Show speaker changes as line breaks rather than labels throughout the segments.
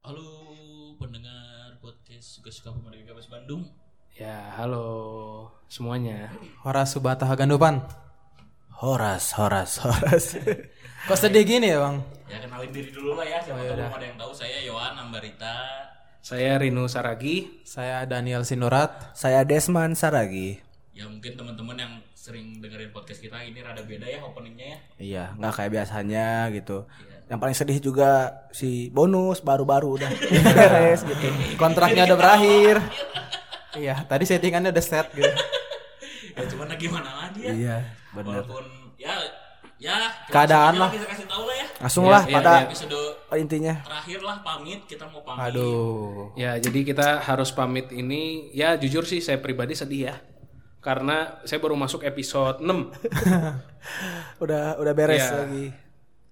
Halo pendengar podcast suka-suka pemerintah Gabas Bandung.
Ya, halo semuanya.
Horas Subata Hagandopan.
Horas, horas, horas.
Horas. Kok sedih gini ya, Bang?
Ya kenalin diri dulu lah ya, siapa tahu belum ada yang tahu saya Yohan Ambarita.
Saya Rino Saragi.
Saya Daniel Sinurat.
Saya Desman Saragi.
Ya mungkin teman-teman yang sering dengerin podcast kita ini rada beda ya openingnya ya.
Iya, nggak kayak biasanya gitu. Yang paling sedih juga si bonus baru-baru udah beres gitu.
Kontraknya udah berakhir. Iya, tadi settingannya udah set gitu.
Ya cuman lagi mana lagi ya.
Iya, bener.
Walaupun ya ya kita
Keadaan
kasih-
lah.
Kita kasih tahu lah ya.
Langsung lah
Iya, iya,
pada
Episode
Oh, intinya.
terakhir lah pamit kita mau pamit.
Aduh.
Ya, jadi kita harus pamit ini. Ya, jujur sih saya pribadi sedih ya. Karena saya baru masuk episode 6.
Udah udah beres
Iya.
lagi.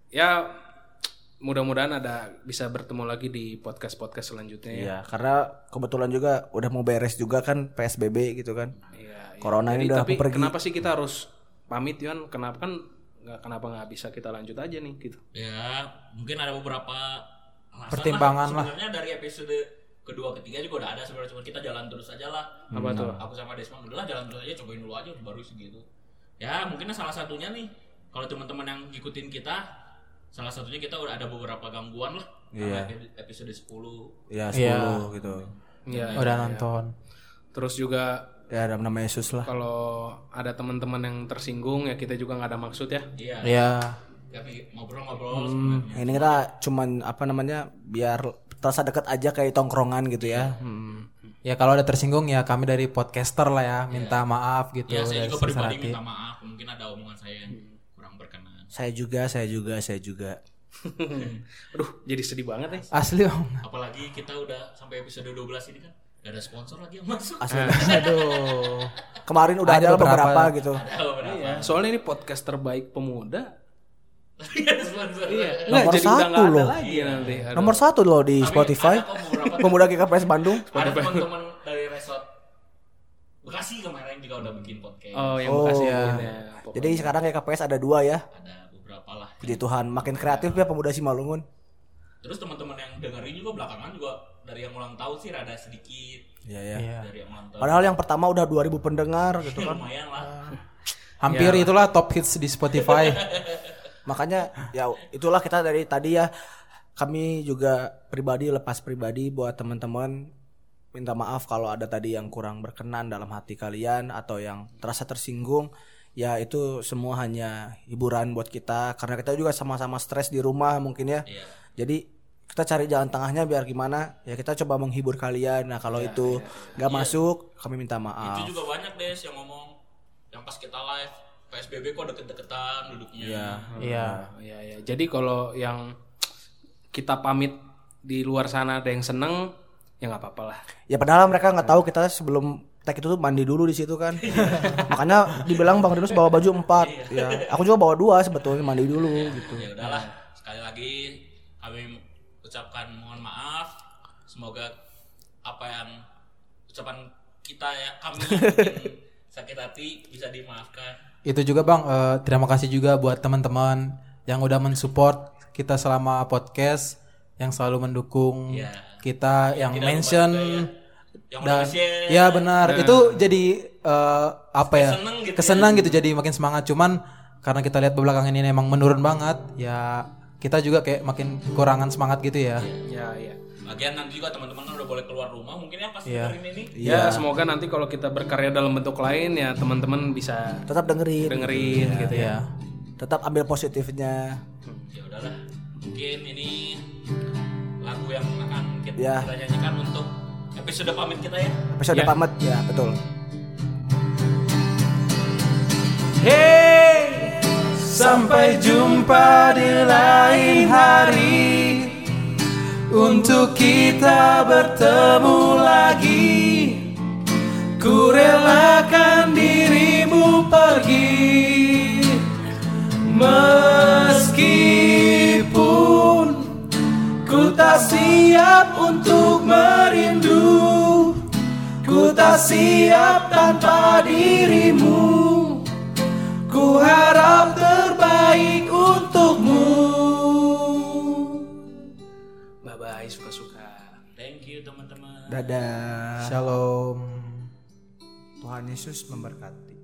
ya, mudah-mudahan ada bisa bertemu lagi di podcast-podcast selanjutnya. ya.
Iya, karena kebetulan juga udah mau beres juga kan PSBB gitu kan.
Iya. iya.
Corona ini
Jadi,
udah
tapi
pergi.
kenapa sih kita harus pamit, Yon? Kenapa kan nggak kenapa nggak bisa kita lanjut aja nih gitu.
Ya mungkin ada beberapa alasan
Pertimbangan
lah. Sebenarnya dari episode kedua ketiga juga udah ada sebenarnya cuma kita jalan terus aja lah.
Apa tuh?
aku sama Desmond udahlah jalan terus aja cobain dulu aja baru segitu ya mungkin salah satunya nih kalau teman-teman yang ngikutin kita salah satunya kita udah ada beberapa gangguan lah Karena episode 10
Ya 10 gitu.
Iya.
Udah nonton.
Terus juga
Ya dalam nama Yesus lah.
kalau ada teman-teman yang tersinggung ya kita juga nggak ada maksud ya.
iya Hmm.
Iya.
tapi ngobrol-ngobrol sebenarnya
Ini kita cuman apa namanya biar terasa dekat aja kayak tongkrongan gitu
Iya.
ya.
Hmm. Ya kalau ada tersinggung ya kami dari podcaster lah ya, minta maaf gitu.
ya saya
dari
juga
sebesar
pribadi
hati.
minta maaf mungkin ada omongan saya yang kurang berkenan
Saya juga, saya juga, saya juga.
Aduh, jadi sedih banget nih.
Asli Om.
apalagi kita udah sampai episode 12 ini kan gak ada sponsor lagi yang masuk
Asli.
Aduh.
Kemarin udah
Eh. Ada
ada, beberapa,
beberapa.
gitu.
ada beberapa
Iya, soalnya ini podcast terbaik pemuda.
Tapi gak ada Iya, sponsor
Nggak,
Nomor
jadi udah
satu
nggak ada
loh.
lagi nanti. Aduh.
Nomor satu loh Iya. di
Tapi
Spotify.
ada kok beberapa
Pemuda GKPS Bandung.
ada teman-teman dari resort Bekasi kemarin juga udah bikin podcast
Oh, yang
Oh,
makasih
iya.
ya. Pokoknya.
Jadi sekarang GKPS ada dua ya.
ada beberapa lah
Puji Tuhan, makin kreatif ya pemuda Simalungun.
terus teman-teman yang dengerin juga belakangan juga dari yang ulang tahun sih rada sedikit
Iya ya.
Iya.
dari yang ulang tahun
Padahal yang pertama udah 2000 pendengar gitu kan.
lumayan lah
Hampir itulah top hits di Spotify.
Makanya ya itulah kita dari tadi ya kami juga pribadi lepas pribadi buat teman-teman minta maaf kalau ada tadi yang kurang berkenan dalam hati kalian atau yang terasa tersinggung ya itu semua hanya hiburan buat kita karena kita juga sama-sama stres di rumah mungkin ya
iya
Jadi kita cari jalan tengahnya biar gimana ya kita coba menghibur kalian. Nah kalau itu nggak masuk kami minta maaf.
itu juga banyak des yang ngomong yang pas kita live PSBB kok deket-deketan duduknya
Iya.
Ya, ya. Jadi kalau yang kita pamit di luar sana ada yang seneng, ya nggak apa-apa lah.
Ya padahal mereka nggak tahu kita sebelum tag itu tuh mandi dulu di situ kan. Makanya dibilang Bang Rinus bawa baju empat. ya aku juga bawa dua sebetulnya mandi dulu gitu.
ya udahlah sekali lagi kami ucapkan mohon maaf semoga apa yang ucapan kita ya kami yang bikin sakit hati bisa dimaafkan
Itu juga Bang, eh, terima kasih juga buat teman-teman yang udah mensupport kita selama podcast, yang selalu mendukung
Iya.
kita, yang
Tidak lupa
mention
juga ya. yang udah
dan
share
ya benar itu jadi eh, apa ya
Keseneng gitu ya.
kesenang gitu jadi makin semangat cuman karena kita lihat belakangan ini emang menurun banget ya kita juga kayak makin kekurangan semangat gitu ya
Ya, ya.
Lagian nanti juga teman-teman kan udah boleh keluar rumah mungkin ya pas dengerin ini.
Ya,
Iya.
semoga nanti kalau kita berkarya dalam bentuk lain ya teman-teman bisa
Tetap dengerin,
dengerin
Iya,
gitu ya.
tetap ambil positifnya.
Ya udahlah. Mungkin ini lagu yang akan kita,
Ya.
kita nyanyikan untuk episode pamit kita ya.
Episode
Ya.
pamat ya betul.
Hey, sampai jumpa di lain hari untuk kita bertemu lagi. Ku relakan dirimu pergi meskipun ku tak siap untuk merindu. Ku tak siap tanpa dirimu. Ku harap terbaik untukmu. Bye bye. Bye suka-suka.
Thank you teman-teman.
Dadah.
Shalom.
Tuhan Yesus memberkati.